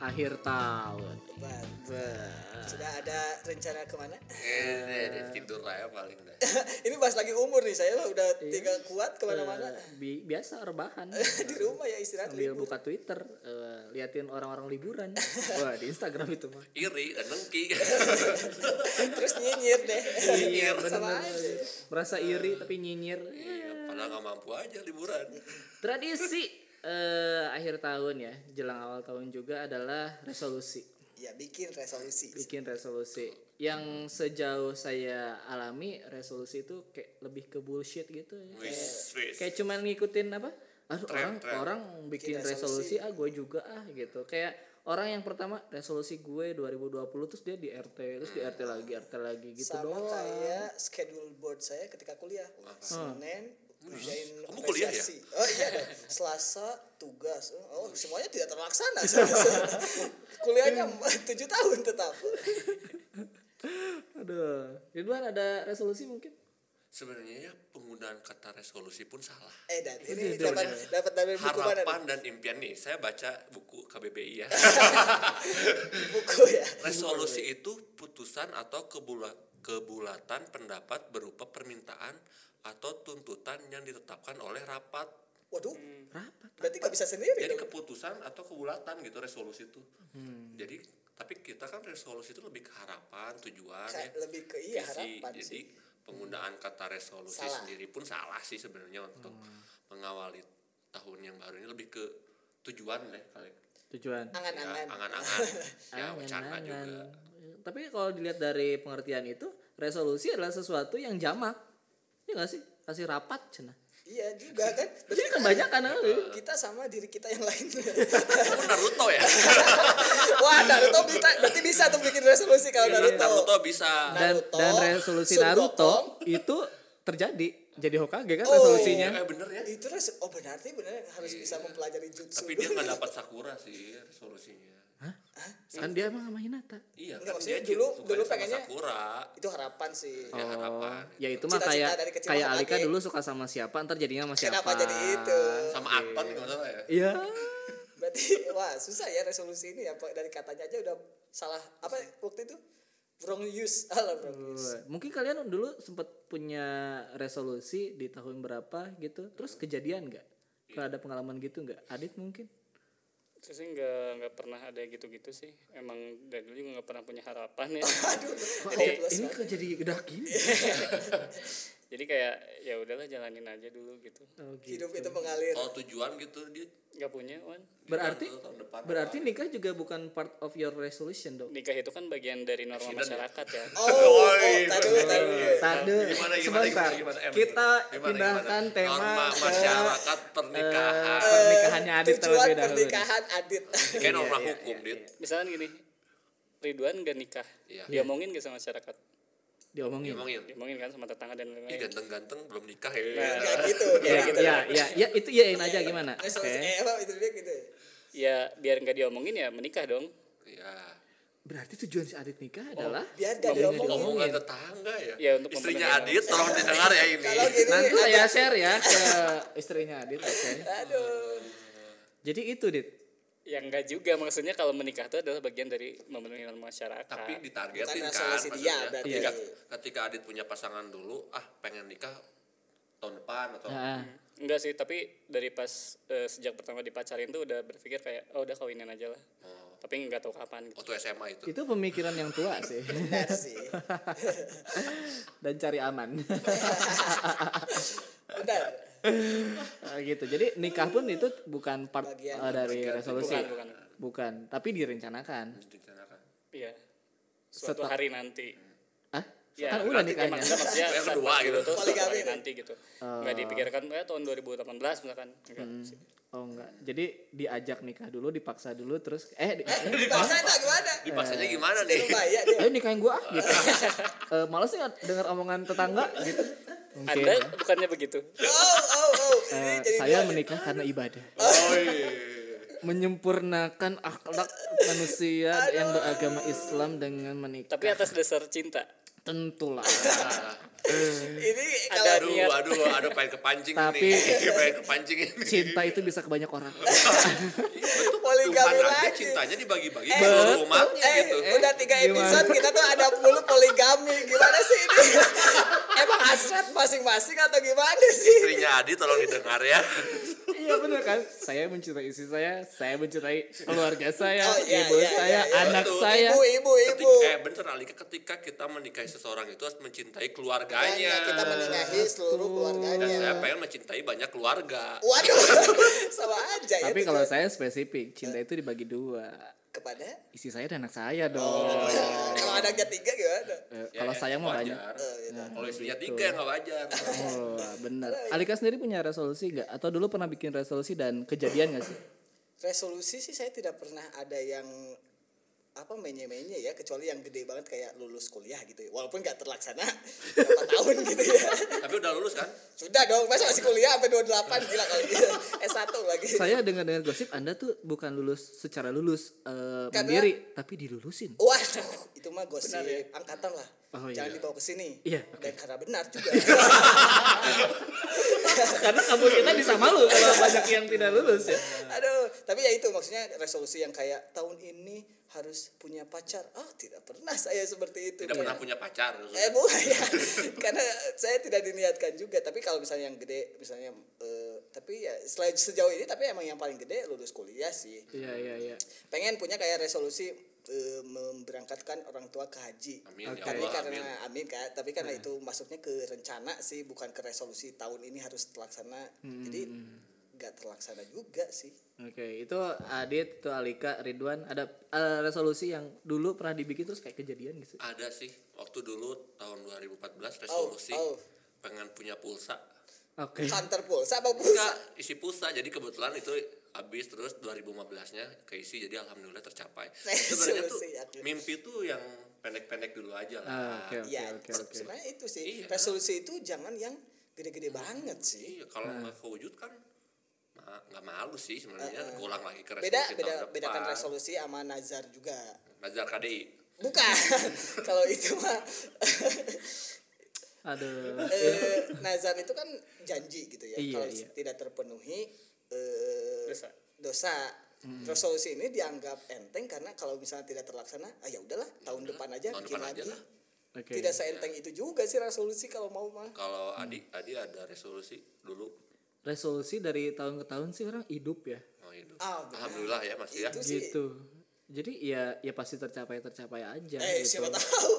akhir tahun. Sudah ada rencana kemana? Eh, deh, tidur aja paling dah. Ini bahas lagi umur nih, saya udah Iya. tiga kuat kemana-mana. Eh, bi- biasa rebahan. Di rumah ya Iya. istirahat Sambil libur. buka Twitter, eh, liatin orang-orang liburan. Wah, di Instagram itu mah. Iri dan dengki. Terus nyinyir deh. Iya, Sama bener. aja. Merasa iri tapi nyinyir. Iya, Padahal nggak mampu aja liburan. Tradisi eh, akhir tahun ya, jelang awal tahun juga adalah resolusi. Ya bikin resolusi. Bikin resolusi. Yang sejauh saya alami resolusi itu kayak lebih ke bullshit gitu ya. Wis, wis. kayak cuman ngikutin apa Aduh, Tren, orang tren. orang bikin Bikin resolusi. resolusi, ah gue juga ah gitu kayak orang yang pertama resolusi gue 2020 terus dia di RT terus di RT lagi RT lagi gitu Sama doang kayak schedule board saya ketika kuliah. Senin Hmm. ngerjain Kamu kuliah ya? apresiasi. Oh iya, dong. Selasa tugas. Oh, semuanya tidak terlaksana. Selasa. Kuliahnya 7 tahun tetap. aduh Ridwan ada resolusi mungkin Sebenarnya ya, penggunaan kata resolusi pun salah. Eh dan ini Udah, dapat dapat dari buku mana? nih? Harapan dan impian nih, saya baca buku KBBI ya. Buku ya. Resolusi itu putusan atau kebula- kebulatan pendapat berupa permintaan atau tuntutan yang ditetapkan oleh rapat. Waduh, rapat Hmm. berarti nggak bisa sendiri Jadi dong. keputusan atau kebulatan gitu resolusi itu. Hmm. Jadi tapi kita kan resolusi itu lebih ke harapan, tujuan ya. Kayak lebih ke iya visi. harapan Jadi sih. Hmm. penggunaan kata resolusi Salah. Hmm. sendiri pun salah sih sebenarnya untuk mengawali tahun yang baru ini lebih ke tujuan deh kali. tujuan Ya, Angan-angan. angan-angan. ya, Angan, bercanda angan. juga. tapi kalau dilihat dari pengertian itu resolusi adalah sesuatu yang jamak ya nggak sih kasih rapat cina Iya juga kan. Berarti jadi kebanyakan ah, Iya. lu. kita sama diri kita yang lain. Kamu Naruto ya? Wah, Naruto bisa, berarti bisa tuh bikin resolusi Iya, kalau Naruto. Naruto bisa. dan Naruto, dan resolusi Sun Naruto itu terjadi jadi Hokage kan Oh. resolusinya Eh bener ya. Itu res oh berarti benar harus bisa mempelajari jutsu. Iya. ya. Tapi dia nggak dapat Sakura sih resolusinya. kan dia emang sama Hinata Iya, Nggak, dia maksudnya dulu- suka dulu sama pengennya- Sakura. Itu harapan sih. Ya harapan. ya itu mah Cita-cita kayak dari kecil kayak sama Alika Hokage. dulu suka sama siapa ntar jadinya iya, sama siapa Kenapa jadi itu? Sama Akpan kalau nggak salah ya. iya Berarti wah susah ya resolusi ini ya Pak. dari katanya aja udah salah apa ya, waktu itu wrong use alah wrong use. mungkin kalian dulu sempet punya resolusi di tahun berapa gitu terus kejadian nggak kalau ada pengalaman gitu nggak Adit mungkin Terus sih nggak nggak pernah ada gitu-gitu sih. Emang dari dulu juga nggak pernah punya harapan ya. Hmm. Kok Jadi- Adit ini kok jadi udah gini Jadi kayak ya udahlah jalanin aja dulu gitu. Oh, gitu. Hidup itu mengalir. Kalau tujuan gitu dia Nggak punya Wan. berarti Tahun- tahun depan berarti nikah juga bukan part of your resolution dong Nikah itu kan bagian dari norma Accident ya? masyarakat ya. Oh, oh, Oi, tar dulu, tar dulu. Tade, Gimana, gimana, sebentar. gimana, gimana, Em? Kita Gimana, pindahkan gimana? tema norma ke, masyarakat eh, pernikahan. pernikahannya Adit Tujuan terlebih dahulu. kan pernikahan Adit. Kayak norma iya, hukum, Dit. Misalnya gini, Ridwan gak nikah, Iya. diomongin gak sama masyarakat? Diomongin. Ngomongin. Diomongin kan sama tetangga dan Ih, lain-lain. ganteng-ganteng belum nikah ya. Nah, Kayak gitu. Ya, kayak gitu. ya, ya, ya, itu iyain aja gimana? Oke. Resolusi eh apa itu dia gitu. ya? Ya biar nggak diomongin ya menikah dong. Iya. Berarti tujuan si Adit nikah adalah Biar gak Ngomongin. diomongin. Omongan tetangga ya. Iya, untuk Istrinya membenahi. Adit tolong didengar ya ini. Kalau gini nanti saya share ya ke istrinya Adit, oke. aduh. Jadi itu, Dit. Ya nggak juga maksudnya kalau menikah itu adalah bagian dari memenuhi norma masyarakat. Ah, tapi Bukan ditargetin kan resolusi dia, maksudnya berarti. ketika, Iya. ketika Adit punya pasangan dulu ah pengen nikah tahun depan atau Ah. Nah, Enggak sih, tapi dari pas eh, sejak pertama dipacarin tuh udah berpikir kayak oh udah kawinin aja lah. Oh. Tapi nggak tahu kapan gitu. waktu SMA itu itu pemikiran yang tua sih Benar sih. dan cari aman. Benar. Eh, gitu. Jadi nikah pun itu bukan part Bagian. eh, dari resolusi. Bukan, bukan. Bukan, tapi direncanakan. direncanakan Iya. Suatu Setelah- hari nanti. Hah? Ya, kan udah nanti nikahnya. emang- enggak, maksudnya Yang saat kedua pas gitu. dulu tuh suatu Poligami hari nih. nanti gitu. Nggak Ah. dipikirkan kayak tahun 2018 misalkan. Enggak sih. Oh enggak. Jadi diajak nikah dulu, dipaksa dulu terus eh di- Dipaksa enggak gimana? dipasanya Ah. gimana nih Bahaya dia. ayo nikahin gua ah gitu. Eh, males ya denger omongan tetangga gitu. Mungkin. Anda bukannya begitu. Oh, oh, oh. Ini Eh, jadi saya dua. menikah karena ibadah. oh, iya. Menyempurnakan akhlak manusia yang beragama Islam dengan menikah. Tapi atas dasar cinta. Tentulah. ini kalau Ada aduh, niat. aduh, aduh, pengen kepancing Tapi- nih, pengen kepancing ini. Cinta itu bisa ke banyak orang. Tuhan poligami aja lagi cintanya dibagi-bagi ke seluruh rumahnya eh, gitu. udah tiga gimana? episode kita tuh ada mulu poligami gimana sih ini emang hasrat masing-masing atau gimana sih Istrinya Adi tolong didengar ya. Iya benar kan? Saya mencintai istri saya, saya mencintai keluarga saya, Oh, iya, ibu iya, saya, iya, iya. anak Betul. saya. ibu ibu ibu Ketika, eh bener Alika ketika kita menikahi seseorang itu harus mencintai keluarganya. Makanya Iya, kita menengahi seluruh Dan saya keluarganya pengen mencintai banyak keluarga. waduh sama aja ya Tapi tuh. kalau saya spesifik, cinta itu dibagi dua. kepada Istri saya dan anak saya dong. Oh, kalau ada ketiga gimana Eh, Ya, iya, kalau ya, saya mau wajar. gitu. banyak. Nah, Kalau istrinya gitu. tiga ya nggak wajar. Oh, benar. Alika sendiri punya resolusi nggak? Atau dulu pernah bikin resolusi dan kejadian nggak sih? resolusi sih saya tidak pernah ada yang apa menye-menye ya kecuali yang gede banget kayak lulus kuliah gitu ya. walaupun nggak terlaksana berapa tahun gitu ya Tapi udah lulus kan? sudah dong masa masih kuliah sampai 28 gila kali S1 lagi Saya dengar-dengar gosip Anda tuh bukan lulus secara lulus eh, Karena- mandiri, tapi dilulusin. waduh itu mah gosip angkatan lah ya? Oh, iya. jangan dibawa ke sini Iya, dan karena benar juga Oh, Karena kamu kita bisa malu kalau banyak yang tidak lulus ya. aduh tapi ya itu maksudnya resolusi yang kayak tahun ini harus punya pacar ah tidak pernah saya seperti itu Tidak Kayak- pernah punya pacar. Iya. Eh bukan ya. Karena saya tidak diniatkan juga. Tapi kalau misalnya yang gede, misalnya eh, tapi ya selain sejauh ini, tapi emang yang paling gede lulus kuliah sih. Iya iya iya. Pengen punya kayak resolusi eh, memberangkatkan orang tua ke haji. Amin, ya Tapi Allah, karena amin Kak. tapi karena itu masuknya ke rencana sih, bukan ke resolusi tahun ini harus terlaksana. Jadi Hmm. nggak terlaksana juga sih. Oke, itu Adit, itu Alika, Ridwan, ada eh, resolusi yang dulu pernah dibikin terus kayak kejadian gitu. Ada sih waktu dulu tahun 2014 resolusi oh. pengen punya pulsa. Oke. Hunter pulsa apa pulsa? Enggak isi pulsa jadi kebetulan itu habis terus 2015-nya keisi jadi alhamdulillah tercapai. Sebenarnya tuh Resolusi, akhirnya. mimpi tuh yang pendek-pendek dulu Ah, aja lah. Oke oke Iya, oke se- oke. sebenarnya itu sih. Iya. Resolusi itu jangan yang gede-gede banget sih. Iya, kalau nggak kewujud kan ma- nggak malu sih sebenarnya ulang lagi ke Eh, beda Iya, resolusi beda tahun depan. bedakan resolusi sama nazar juga Nazar KDI. bukan kalau itu mah Aduh. eh, nazar itu kan janji gitu ya Iya, kalau iya. tidak terpenuhi eh, Dosa. dosa. Hmm. resolusi ini dianggap enteng karena kalau misalnya tidak terlaksana ah ya udahlah tahun depan aja Tahun bikin depan aja lagi lah. Oke. tidak seenteng itu juga sih resolusi kalau mau mah Kalau Adi, Adi ada resolusi dulu. Resolusi dari tahun ke tahun sih orang hidup ya. Oh, hidup. Ah, benar. Alhamdulillah ya masih ya. Itu sih. Gitu. Jadi ya ya pasti tercapai tercapai aja Iya, eh gitu. siapa tahu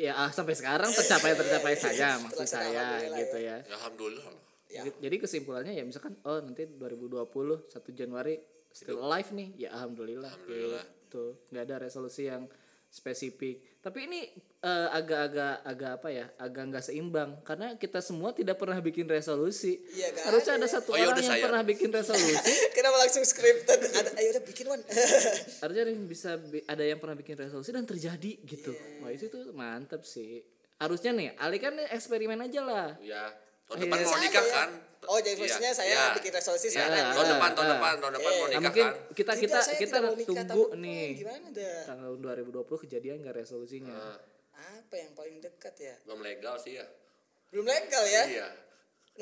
Ya ah, sampai sekarang tercapai tercapai saja maksud Terlaksana, saya alhamdulillah, gitu ya. Ya, Alhamdulillah loh. ya Jadi, jadi kesimpulannya ya misalkan oh nanti 2020 1 Januari still alive nih ya alhamdulillah. Alhamdulillah. Tuh nggak ada resolusi yang spesifik. Tapi ini eh, agak-agak agak apa ya agak nggak seimbang karena kita semua tidak pernah bikin resolusi. Iya, nggak Harusnya ada satu Oh, ya orang udah yang saya. pernah bikin resolusi. kenapa langsung scripted ada ayo udah bikin one Harusnya ada yang bisa bi- ada yang pernah bikin resolusi dan terjadi gitu. Iya, Wah itu tuh mantep sih. Harusnya nih Ali kan eksperimen aja lah. Ya. Tahun Iya. depan mau Saya nikah ya. kan? Oh, jadi maksudnya saya bikin resolusi Iya, sekarang. Tahun Ah, depan, tahun ah. depan, tahun depan mau Eh, Nah, nikah mungkin kan? kita Tidak, kita saya kita tidak mau nikah tunggu tahun depan. nih Gimana dah? tahun 2020 kejadian nggak resolusinya Ah, Apa yang paling dekat ya? Belum legal sih ya. Belum legal ya? Iya.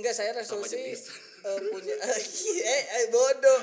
Enggak, saya resolusi jenis. eh, punya eh, eh bodoh.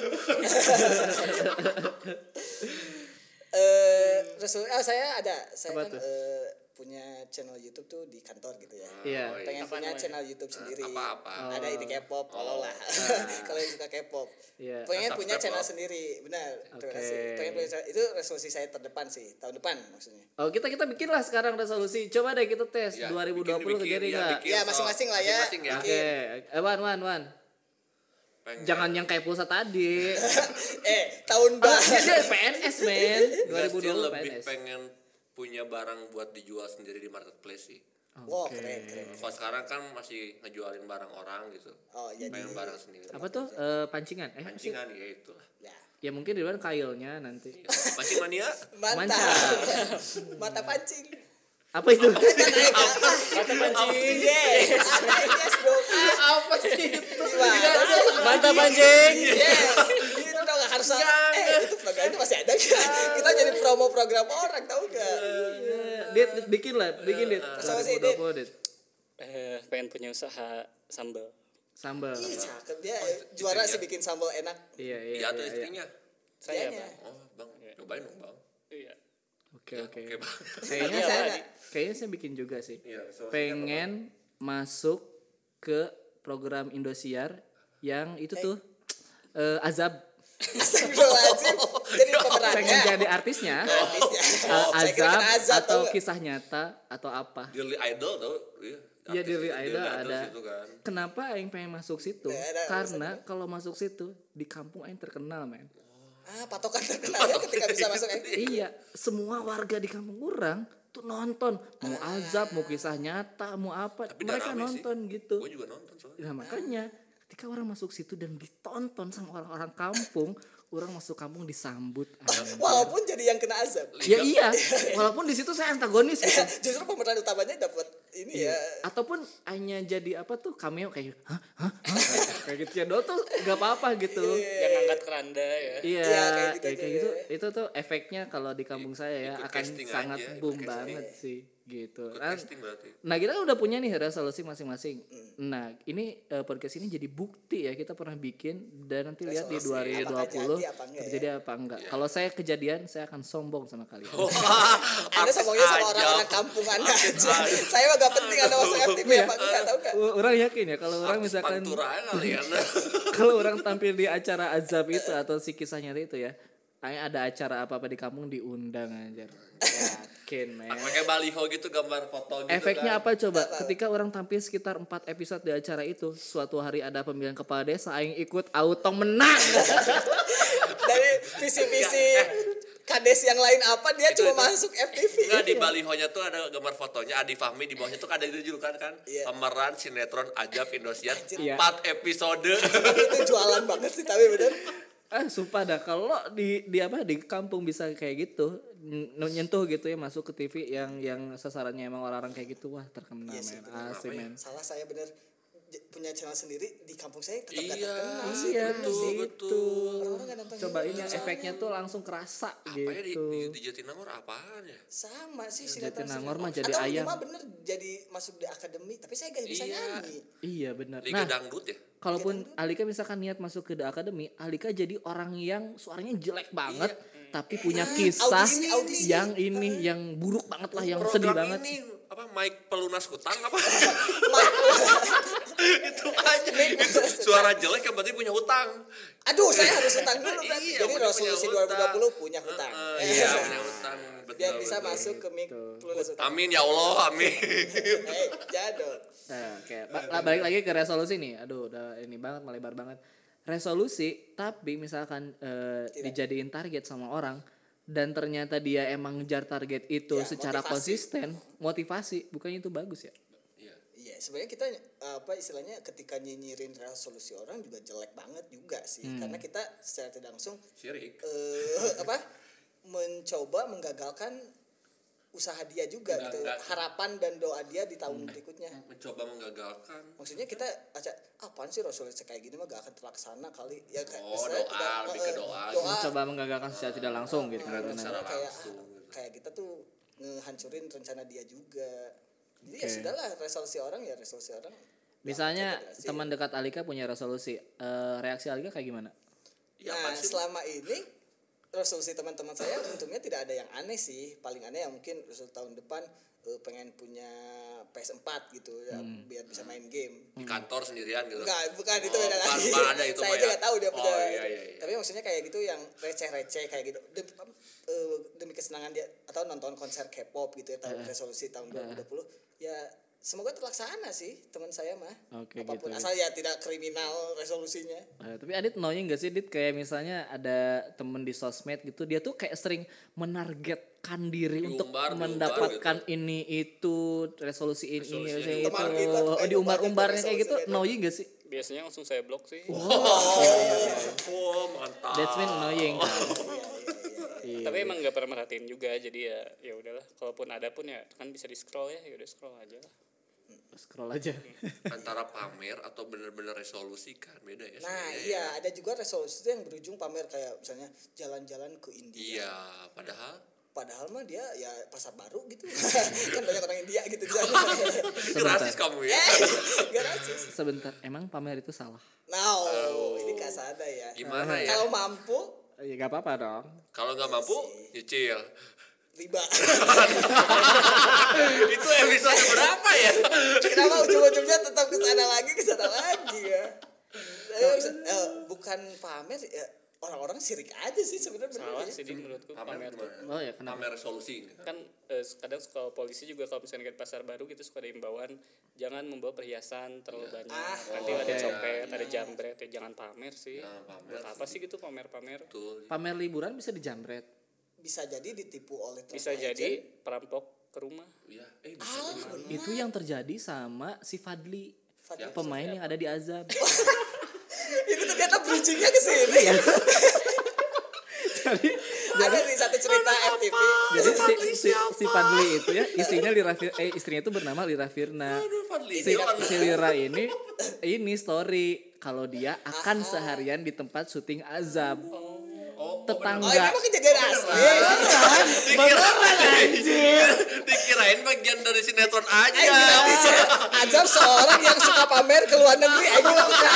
eh resolusi ah saya ada. Saya Apa kan tuh? eh, punya channel YouTube tuh di kantor gitu ya. Iya. Oh, iya. Pengen punya namanya? channel YouTube sendiri. apa-apa. Oh. Eh. Ada ini K-pop, follow lah. Kalau yang suka K-pop. Iya. Pengen Subscribe punya channel lah. sendiri, benar. Terima Oke. kasih. Pengen punya channel- itu resolusi saya terdepan sih, tahun depan maksudnya. oh kita kita bikin lah sekarang resolusi coba deh kita tes Iya, 2020 bikin, bikin, kejadian iya, nggak bikin. Ya masing-masing lah ya. Masing-masing ya. oke eh, wan wan wan Pengen. jangan yang kayak pulsa tadi eh tahun Dia- baru. dia PNS men Gua Iya sih 2020 lebih PNS pengen punya barang buat dijual sendiri di marketplace sih. Wah keren keren. Kalau sekarang kan masih ngejualin barang orang gitu. Oh jadi Pengen barang sendiri. apa tuh Eh, pancingan eh apa sih? Pancingan Iya. ya itu. ya. ya mungkin di luar kailnya nanti Pancing mania. mata Mantap. mata pancing. apa itu Mata pancing. Yes, ada yes dong. Iya. apa sih itu Gimana sih? Mata pancing. Iya. Yes, gitu dong nggak harus. Eh, itu program itu masih ada nggak? Kita jadi promo program orang tahu nggak? Dit, dit, bikin lah, bikin dit. Sama sih, Dit. 2020, dit. Eh, pengen punya usaha sambal. Sambal. Ih, cakep dia Oh, juara sih bikin sambal enak. Iya, iya, Iya iya. atau iya. istrinya. Saya Dianya. Bang. Oh, Bang, cobain dong, Bang. Iya. Oke, oke. Oke, Bang. Kayaknya Iya, saya lagi. kayaknya saya bikin juga sih. Iya, so- Pengen masuk ke program Indosiar yang itu tuh eh, azab. Astagfirullahaladzim. Jadi Pengen pemerannya. Iya. jadi artisnya. eh, Oh, Saya kira azab, kena azab atau atau kisah nyata atau apa. Dearly Idol tau? Iya, Iya artis Dearly itu, Idol ada. situ kan. Kenapa Aing pengen masuk situ? Nah, ada Karena kalau masuk situ di kampung Aing terkenal men. Ah, patokan terkenalnya ketika bisa masuk eh. iya, semua warga di kampung orang tuh nonton mau azab, mau kisah nyata, mau apa, Tapi udah mereka rame sih. nonton gitu. Gue juga nonton soalnya. Nah makanya ketika orang masuk situ dan ditonton sama orang-orang kampung, orang masuk kampung disambut. anjing. Walaupun jadi yang kena azab. ya iya, walaupun di situ saya antagonis gitu. Justru pemeran utamanya dapat ini Iya. ya. Ataupun hanya jadi apa tuh cameo kayak hah hah hah kayak gitu ya. Dol tuh gak apa-apa gitu. Yang angkat keranda ya. Iya, Iya, ya, kayak kayak gitu gitu, aja ya. Itu tuh efeknya kalau di kampung saya ya ikut akan casting sangat aja, ikut boom casting. banget sih gitu. Ikut Nah, casting berarti. nah, kita kan udah punya nih resolusi masing-masing. Hmm. Nah, ini eh, podcast ini jadi bukti ya kita pernah bikin dan nanti lihat di Resolusi, 2020 apakah jadi apa enggak ya? terjadi apa enggak. Kalau saya kejadian saya akan sombong sama kalian. Oh. Anda sombongnya sama aja. orang-orang kampung Anda aja. Saya mah gak penting Anda masuk FTV apa enggak tahu enggak. O- Orang yakin ya kalau orang Artis misalkan panturaan kali ya. kalau orang tampil di acara azab itu atau si kisah nyata itu ya, Aing ada acara apa-apa di kampung diundang anjir. Yakin, men. Pakai baliho gitu gambar foto gitu Efeknya kan. apa coba? Ketika orang tampil sekitar 4 episode di acara itu, suatu hari ada pemilihan kepala desa, aing ikut auto menang. Dari visi-visi kades yang lain apa dia cuma masuk Enggak FTV. Iya. di balihonya tuh ada gambar fotonya Adi Fahmi di bawahnya tuh ada itu julukan kan Iya. pemeran sinetron Ajab Indosiar Iya. 4 episode. Itu jualan banget sih tapi bener. ah, sumpah dah kalau di di apa di kampung bisa kayak gitu, n- nyentuh gitu ya masuk ke TV yang yang sasarannya emang orang-orang kayak gitu, wah terkenal Iya men. Asik men. Salah saya bener J- punya channel sendiri di kampung saya tetap gak iya, terkenal sih. Iya, betul, gitu. betul. Orang-orang gak nonton Coba ini efeknya tuh langsung kerasa Apanya di, gitu. di, di Jatinangor apaan ya? sama sih sinetron Jatinangor mah sinetron. jadi Atau ayam. minimal bener jadi masuk di akademi tapi saya gak bisa Iya. nyanyi Iya benar. Liga Nah, Dangdut ya? kalaupun Alika misalkan niat masuk ke The Academy, Alika jadi orang yang suaranya jelek banget Iya. tapi punya kisah audisi, audisi. yang ini yang buruk banget lah yang sedih banget. ini apa Mike pelunas hutang apa? itu aja itu suara jelek yang berarti punya hutang. aduh saya harus hutang dulu berarti Iya, jadi punya- resolusi punya hutang. 2020 punya hutang Eh, Eh, iya, punya hutang. Betul. biar bisa betul. masuk ke mik lulus hutang Amin ya Allah, amin. eh jadul Nah, Eh, Oke, ba- lah, balik lagi ke resolusi nih. Aduh, udah ini banget melebar banget. Resolusi, tapi misalkan eh, dijadiin target sama orang dan ternyata dia emang ngejar target itu Ya, secara motivasi. konsisten, motivasi, bukannya itu bagus ya? Iya. Iya, sebenarnya kita apa istilahnya ketika nyinyirin resolusi orang juga jelek banget juga sih, Hmm. karena kita secara tidak langsung Sirik. eh, apa mencoba menggagalkan usaha dia juga Enggak, gitu, enggak. harapan dan doa dia di tahun berikutnya. Mencoba menggagalkan. Maksudnya kita aca apaan sih resolusi kayak gini mah gak akan terlaksana kali ya kayak Oh, istilahnya doa, lebih ke eh, doa Coba menggagalkan secara tidak langsung gitu. Berarti Nah, secara kayak ah, langsung. gitu. kayak kita tuh ngehancurin rencana dia juga. Jadi ya sudahlah resolusi orang ya resolusi orang. Misalnya Nggak sih. teman dekat Alika punya resolusi, eh, reaksi Alika kayak gimana? Iya, nah, apaan sih? selama ini resolusi teman-teman saya untungnya tidak ada yang aneh sih. Paling aneh ya mungkin resolusi tahun depan eh, pengen punya PS4 gitu ya, biar bisa main game. di kantor sendirian gitu. Enggak, bukan itu Hmm. Oh, beda bukan, lagi. bukan ada itu, saya Pak, juga ya? tahu dia Oh, punya. iya, iya, iya. Tapi maksudnya kayak gitu yang receh-receh kayak gitu. Demi, eh, demi kesenangan dia atau nonton konser K-pop gitu ya Eh. tahun resolusi tahun 2020 ya semoga terlaksana sih teman saya mah. Oke, Apapun gitu, asal ya tidak kriminal resolusinya. Eh, tapi Adit knowing gak sih Dit kayak misalnya ada temen di sosmed gitu dia tuh kayak sering menargetkan diri untuk gitu. Diumbar, diumbar mendapatkan ini itu resolusi ini Resolusinya resolusi diumbar. itu Teman kita tuh oh, kayak diumbar-umbarnya diumbar kayak gitu resolusi knowing gak sih Biasanya langsung saya blok sih. Oh, mantap. that's Ah. mean knowing kan? Iya, Tapi emang nggak pernah merhatiin juga jadi ya ya udahlah. Kalaupun ada pun ya kan bisa di scroll ya, ya udah scroll aja lah. scroll aja Antara pamer atau bener-bener resolusi kan beda ya. Nah sebenarnya ya. iya ada juga resolusi itu yang berujung pamer kayak misalnya jalan-jalan ke India. Iya, padahal padahal mah dia ya pasar baru gitu kan banyak orang India gitu dia Ini rasis kamu Eh, ya. gak rasis Sebentar, emang pamer itu salah? now Oh. ini kasada ya Gimana ya? kalau mampu Ya gak apa-apa dong. Kalau nggak mampu, nyicil. riba Itu episode berapa ya? kenapa ujung-ujungnya tetap kesana lagi kesana lagi ya Eh, eh, bukan pamer ya, orang-orang sirik aja sih sebenarnya Iya, salah bener ya. sih Din, menurutku Pamer pamer tuh gimana? Oh ya kenapa? Pamer solusi. gitu. kan eh, kadang suka polisi juga kalau misalnya ke pasar baru gitu suka ada imbauan jangan membawa perhiasan terlalu banyak Ah, nanti oh, ada iya, copet ada jambret ya jangan pamer sih Jangan pamer buat apa sih gitu pamer-pamer Betul. Pamer liburan bisa dijamret. bisa jadi ditipu oleh bisa travel agent. jadi perampok ke rumah Iya. Eh, bisa Ah, jadi. bener. Itu yang terjadi sama si Fadli, Fadli. pemain yang ada di Azab. ini ternyata bridgingnya ke sini ya Jadi ada nih satu cerita FTV jadi si, si, si Fadli itu ya istrinya Lira Fir- eh istrinya itu bernama Lira Firna. Ah, Aduh, Fadli. kan Si, jangan. si Lira ini ini story kalau dia akan seharian di tempat syuting Azab. Oh, oh oh, Tetangga ini mah kejadian Iya, asli Dikirain, dikirain bagian dari sinetron Eh, gila, aja. bisa. Azab seorang yang suka pamer ke luar negeri eh, gila, bukan.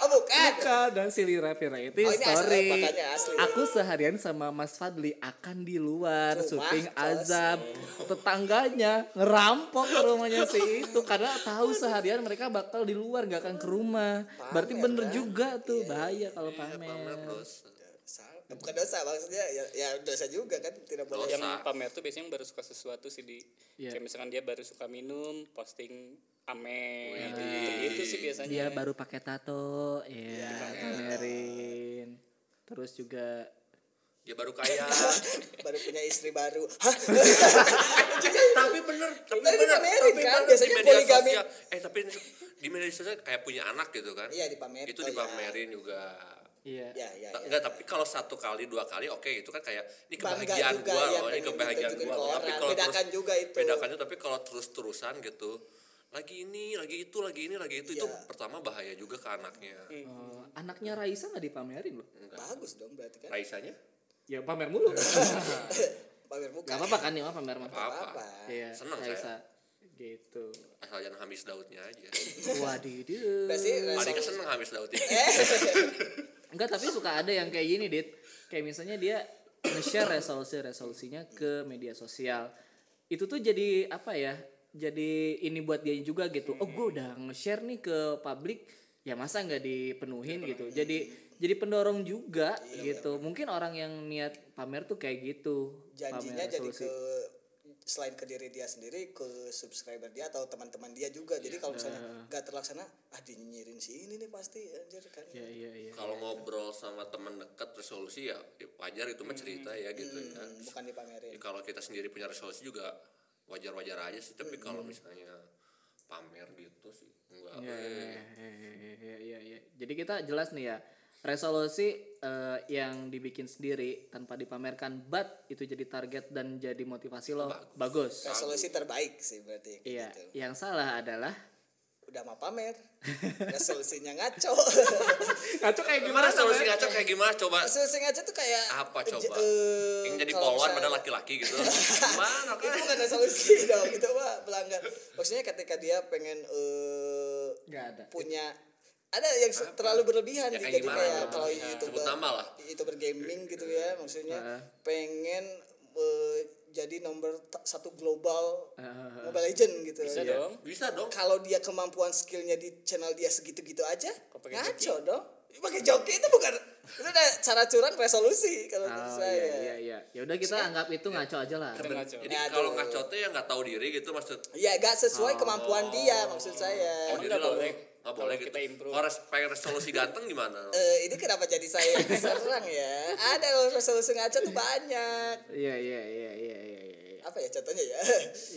oh bukan Bukan, dan si Lira Fira itu Oh, ini asli, story. makanya asli. Aku seharian sama Mas Fadli akan di luar Rumah, syuting kos. azab. Tetangganya ngerampok ke rumahnya si itu karena tahu seharian mereka bakal di luar nggak akan ke rumah. Berarti Pamer, Iya, bener kan? juga tuh bahaya kalau Pamer pamer. dosa. Salah. bukan dosa maksudnya ya, ya dosa juga kan tidak boleh yang yang Dosa. pamer tuh biasanya yang baru suka sesuatu sih di Iya. kayak misalkan dia baru suka minum posting amer Wih, Iya. gitu, sih biasanya Dia baru pakai tato, ya pamerin. Terus juga Dia baru kaya. baru punya istri baru Hah? tapi bener, tapi Tapi bener. pamerin, Tapi kan? bener Biasanya di media poligami. sosial. Eh, tapi di media sosial kayak punya anak gitu kan. Iya, dipamer- Itu oh, iya. dipamerin juga. iya. ya ya, ya. Ta- Enggak, tapi kalau satu kali, dua kali oke itu kan kayak ini Bangga kebahagiaan juga, gua ya, loh, ini pengen kebahagiaan tunjukin gua. ke loh. Tapi orang. kalau Bedakan terus- juga itu. Bedakannya tapi kalau terus-terusan gitu lagi ini, lagi itu, lagi ini, lagi itu itu Iya. pertama bahaya juga ke anaknya. Oh, anaknya Raisa nggak dipamerin loh. bagus dong berarti kan Raisanya? Ya pamer mulu. Gak pamer muka apa-apa kan ya pamer mah. Apa? Iya, Seneng Raisa. Gitu. Asal jangan Hamis Daudnya aja. Wadidu. berarti Adiknya resolusi seneng Hamis Daudnya. Eh. Enggak, tapi suka ada yang kayak gini, Dit. Kayak misalnya dia nge-share resolusi-resolusinya ke media sosial. Itu tuh jadi apa ya? Jadi ini buat dia juga gitu. Oh, gue udah nge-share nih ke publik. Ya masa nggak dipenuhin gitu. Jadi jadi pendorong juga Iya, gitu. Mungkin orang yang niat pamer tuh kayak gitu. pamer janjinya jadi resolusi. ke selain ke diri dia sendiri ke subscriber dia atau teman-teman dia juga jadi Iya. kalau misalnya nggak terlaksana ah dinyirin si ini nih pasti anjir kan Iya, iya, iya. kalau ngobrol sama teman dekat resolusi ya ya wajar itu mah cerita ya gitu ya. Hmm, bukan dipamerin Ya, kalau kita sendiri punya resolusi juga wajar-wajar aja sih tapi kalau Hmm. misalnya pamer gitu sih enggak Iya, eh. iya, iya, iya, iya, iya. Jadi kita jelas nih ya resolusi eh, yang dibikin sendiri tanpa dipamerkan, but itu jadi target dan jadi motivasi lo bagus. resolusi terbaik sih berarti Iya, gitu. yang salah adalah udah mah pamer resolusinya ngaco ngaco kayak gimana resolusi ngaco kayak gimana coba resolusi ngaco tuh kayak apa eh, coba eh, yang jadi kalau polwan misalnya- pada laki-laki gitu gimana itu kan bukan resolusi dong itu mah pelanggar maksudnya ketika dia pengen eh, Nggak ada. punya ada yang se- terlalu berlebihan Ya, sih. kayak jadi gimana kayak tuh? kalau Ya. youtuber Sebut nama lah. youtuber gaming gitu ya maksudnya Heeh. pengen eh, jadi nomor t- satu global Heeh. Iya. mobile legend gitu bisa ya. dong bisa dong kalau dia kemampuan skillnya di channel dia segitu-gitu aja Kok pakai ngaco dong pakai joki itu bukan itu udah cara curang resolusi kalau menurut Oh saya iya iya iya. Ya udah kita anggap itu ngaco aja lah. Kita ngaco jadi Aduh. kalau ngaco tuh ya nggak tahu diri gitu maksud Ya gak sesuai kemampuan Oh. dia maksud saya. oh Emang diri nggak lah boleh? nggak boleh Kalau gitu kita improve. kalau res- pengen resolusi ganteng gimana Eh ini kenapa jadi saya yang diserang ya? Ada loh resolusi ngaco tuh banyak. Iya iya iya iya iya iya. Apa ya contohnya ya?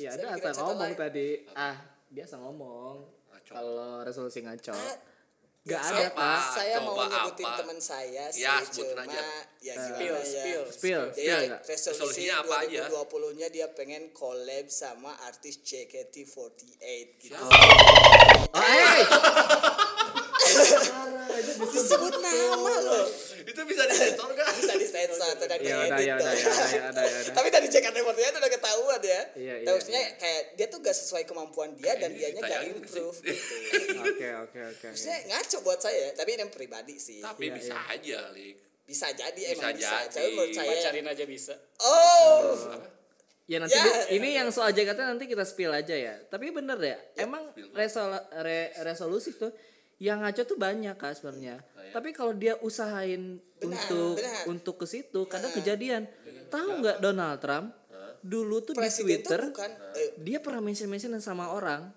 Iya Saya ada mikir asal contoh ngomong lain. tadi. Ah, biasa ngomong. Ngaco. Kalau resolusi ngaco. Ah, Gak ya, ada, saya- Pak. Saya mau Coba nyebutin apa? teman saya sih Ya, sebutin cuma aja. Nah, ya gimana Iya, spill ya. spill Spill, Jadi spill nggak? resolusi Resolusinya apa aja? 2020-nya dia pengen collab sama artis JKT48 gitu. Oh, eh. Disebut nama loh. itu bisa disensor nggak Nah, gitu. Bisa di sensor dan Ya udah Iya, diedit ya udah ya dong. udah ya udah ya udah. ya. Iya, nggak sesuai kemampuan dia dan dianya nggak ditayangin improve sih. gitu. Oke oke oke. Maksudnya ngaco buat saya, tapi ini yang pribadi sih. Iya, tapi bisa aja lik Bisa jadi emang Bisa bisa. jadi. Tapi menurut Iya. saya pacarin aja bisa Oh, Ya nanti Ya. di- ini yang soal jaketnya nanti kita spill aja ya. Tapi bener ya, emang resol- re- resolusi tuh yang ngaco tuh banyak kan sebenarnya. Tapi kalau dia usahain untuk Oh, iya. benar. untuk ke situ kadang kejadian. Tahu nggak Donald Trump? Dulu tuh di presiden Twitter tuh bukan eh, dia pernah mention-mention sama orang.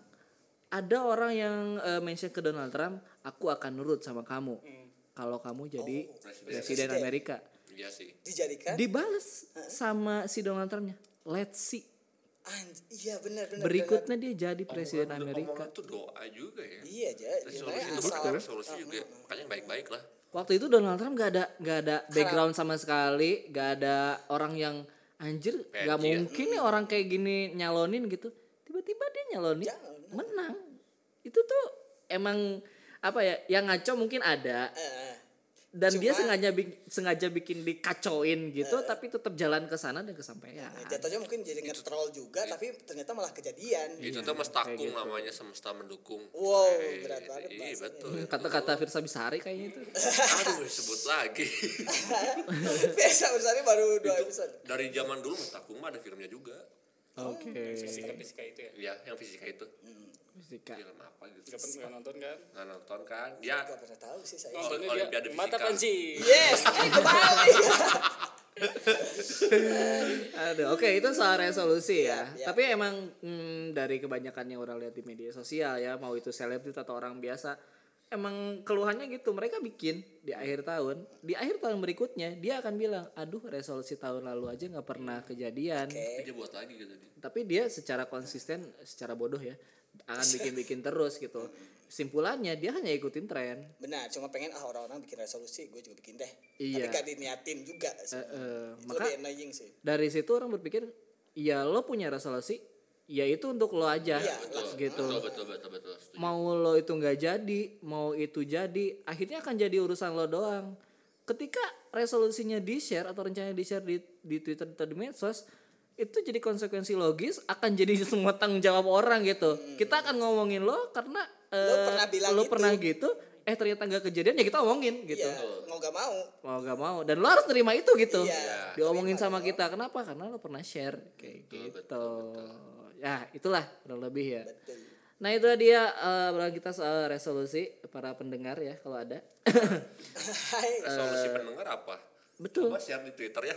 Ada orang yang eh, mention ke Donald Trump, aku akan nurut sama kamu. Hmm. Kalau kamu jadi Oh, presiden Amerika. iya sih dijadikan Dibales sama si Donald Trumpnya. Let's Nah, see. anj- iya benar benar. Berikutnya dia jadi presiden Iya Omongan- Amerika. omongan tuh doa juga ya benar. Iya aja. resolusi itu asal bukan resolusi juga ya. makanya yang baik-baik lah Waktu itu Donald Trump gak ada gak ada background sama sekali, gak ada orang yang anjir, gak Pengen. mungkin nih orang kayak gini nyalonin gitu. Tiba-tiba dia nyalonin, Jangan. menang. Itu tuh emang apa ya? Yang ngaco mungkin ada eh, dan dia Cuma- sengaja bik- sengaja bikin dikacoin gitu, tapi tetap jalan ke ya. sana dan kesampaian. eh, jatuhnya mungkin jadi nge-troll juga, Iya. tapi ternyata malah kejadian. Gitu. itu tuh mas takung namanya semesta mendukung Wow, Eh, berat banget iya bahasanya. betul Kata-kata Firsa Bisari kayaknya itu. aduh disebut lagi Biasa bersari baru dua episode. dari zaman dulu mas takung mah ada filmnya juga Oke. fisika fisika itu ya ya yang fisika itu Fisika. film apa gitu nggak pernah nggak nonton kan nggak nonton kan dia Gak pernah tahu sih saya. Oh. nontonnya Olimpiade dia fisika. mata panci Yes, eh, kembali. Aduh, oke itu soal resolusi ya. Iya, iya. Tapi emang hmm, dari kebanyakan yang orang lihat di media sosial ya, mau itu selebgram atau orang biasa, emang keluhannya gitu. Mereka bikin di akhir tahun, di akhir tahun berikutnya dia akan bilang, aduh resolusi tahun lalu aja nggak pernah kejadian. Oke. dia buat lagi gitu dia Tapi dia secara konsisten, secara bodoh ya, akan bikin-bikin terus gitu. Simpulannya dia hanya ikutin tren. Benar, cuma pengen ah orang-orang bikin resolusi, gue juga bikin deh. Iya. Tapi gak diniatin juga. sih. eh, itu maka- lebih annoying sih. Dari situ orang berpikir, ya lo punya resolusi, ya itu untuk lo aja, Iya, gitu. betul betul betul betul setuju. mau lo itu nggak jadi, mau itu jadi, akhirnya akan jadi urusan lo doang. Ketika resolusinya di share atau rencananya di share di, di Twitter atau di medsos, itu jadi konsekuensi logis akan jadi semua tanggung jawab orang gitu. Kita akan ngomongin lo karena Hmm. Lo eh, pernah bilang lo gitu. pernah gitu, eh ternyata nggak kejadian ya kita omongin gitu. Iya, mau gak mau. Mau gak mau dan lo harus terima itu gitu. Iya. Diomongin sama kita kenapa? Karena lo pernah share kayak Betul, gitu. betul, Ya, itulah kurang lebih ya. Betul. Nah itu dia eh obrolan kita soal resolusi para pendengar ya kalau ada. Hai. resolusi pendengar apa Betul. Coba share di Twitter ya.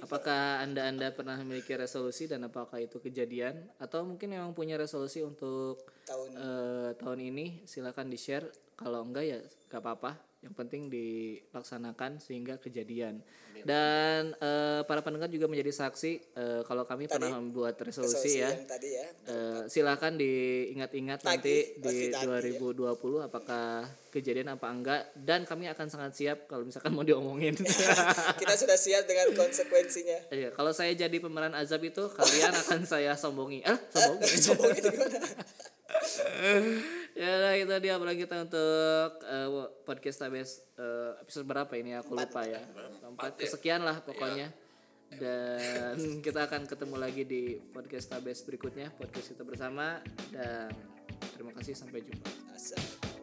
Apakah anda anda pernah memiliki resolusi dan apakah itu kejadian atau mungkin memang punya resolusi untuk Tahun. eh, tahun ini silakan di share kalau enggak ya gak apa-apa. Yang penting dilaksanakan sehingga kejadian. Dan eh, para pendengar juga menjadi saksi eh, kalau kami pernah membuat resolusi ya. yang tadi ya. Eh, silakan diingat-ingat nanti Tagih, di pasti tagih, ya. 2020 apakah kejadian apa enggak dan kami akan sangat siap kalau misalkan mau diomongin. Kita sudah siap dengan konsekuensinya. Iya, kalau saya jadi pemeran azab itu kalian akan saya sombongi. Eh, sombongi. Coba gitu gimana? ya udah, itu dia obrolan kita untuk eh, podcast Tabes eh, episode berapa ini aku lupa ya. Iya. Empat kesekian lah pokoknya. Dan kita akan ketemu lagi di podcast Tabes berikutnya, podcast kita bersama dan terima kasih sampai jumpa. Asal.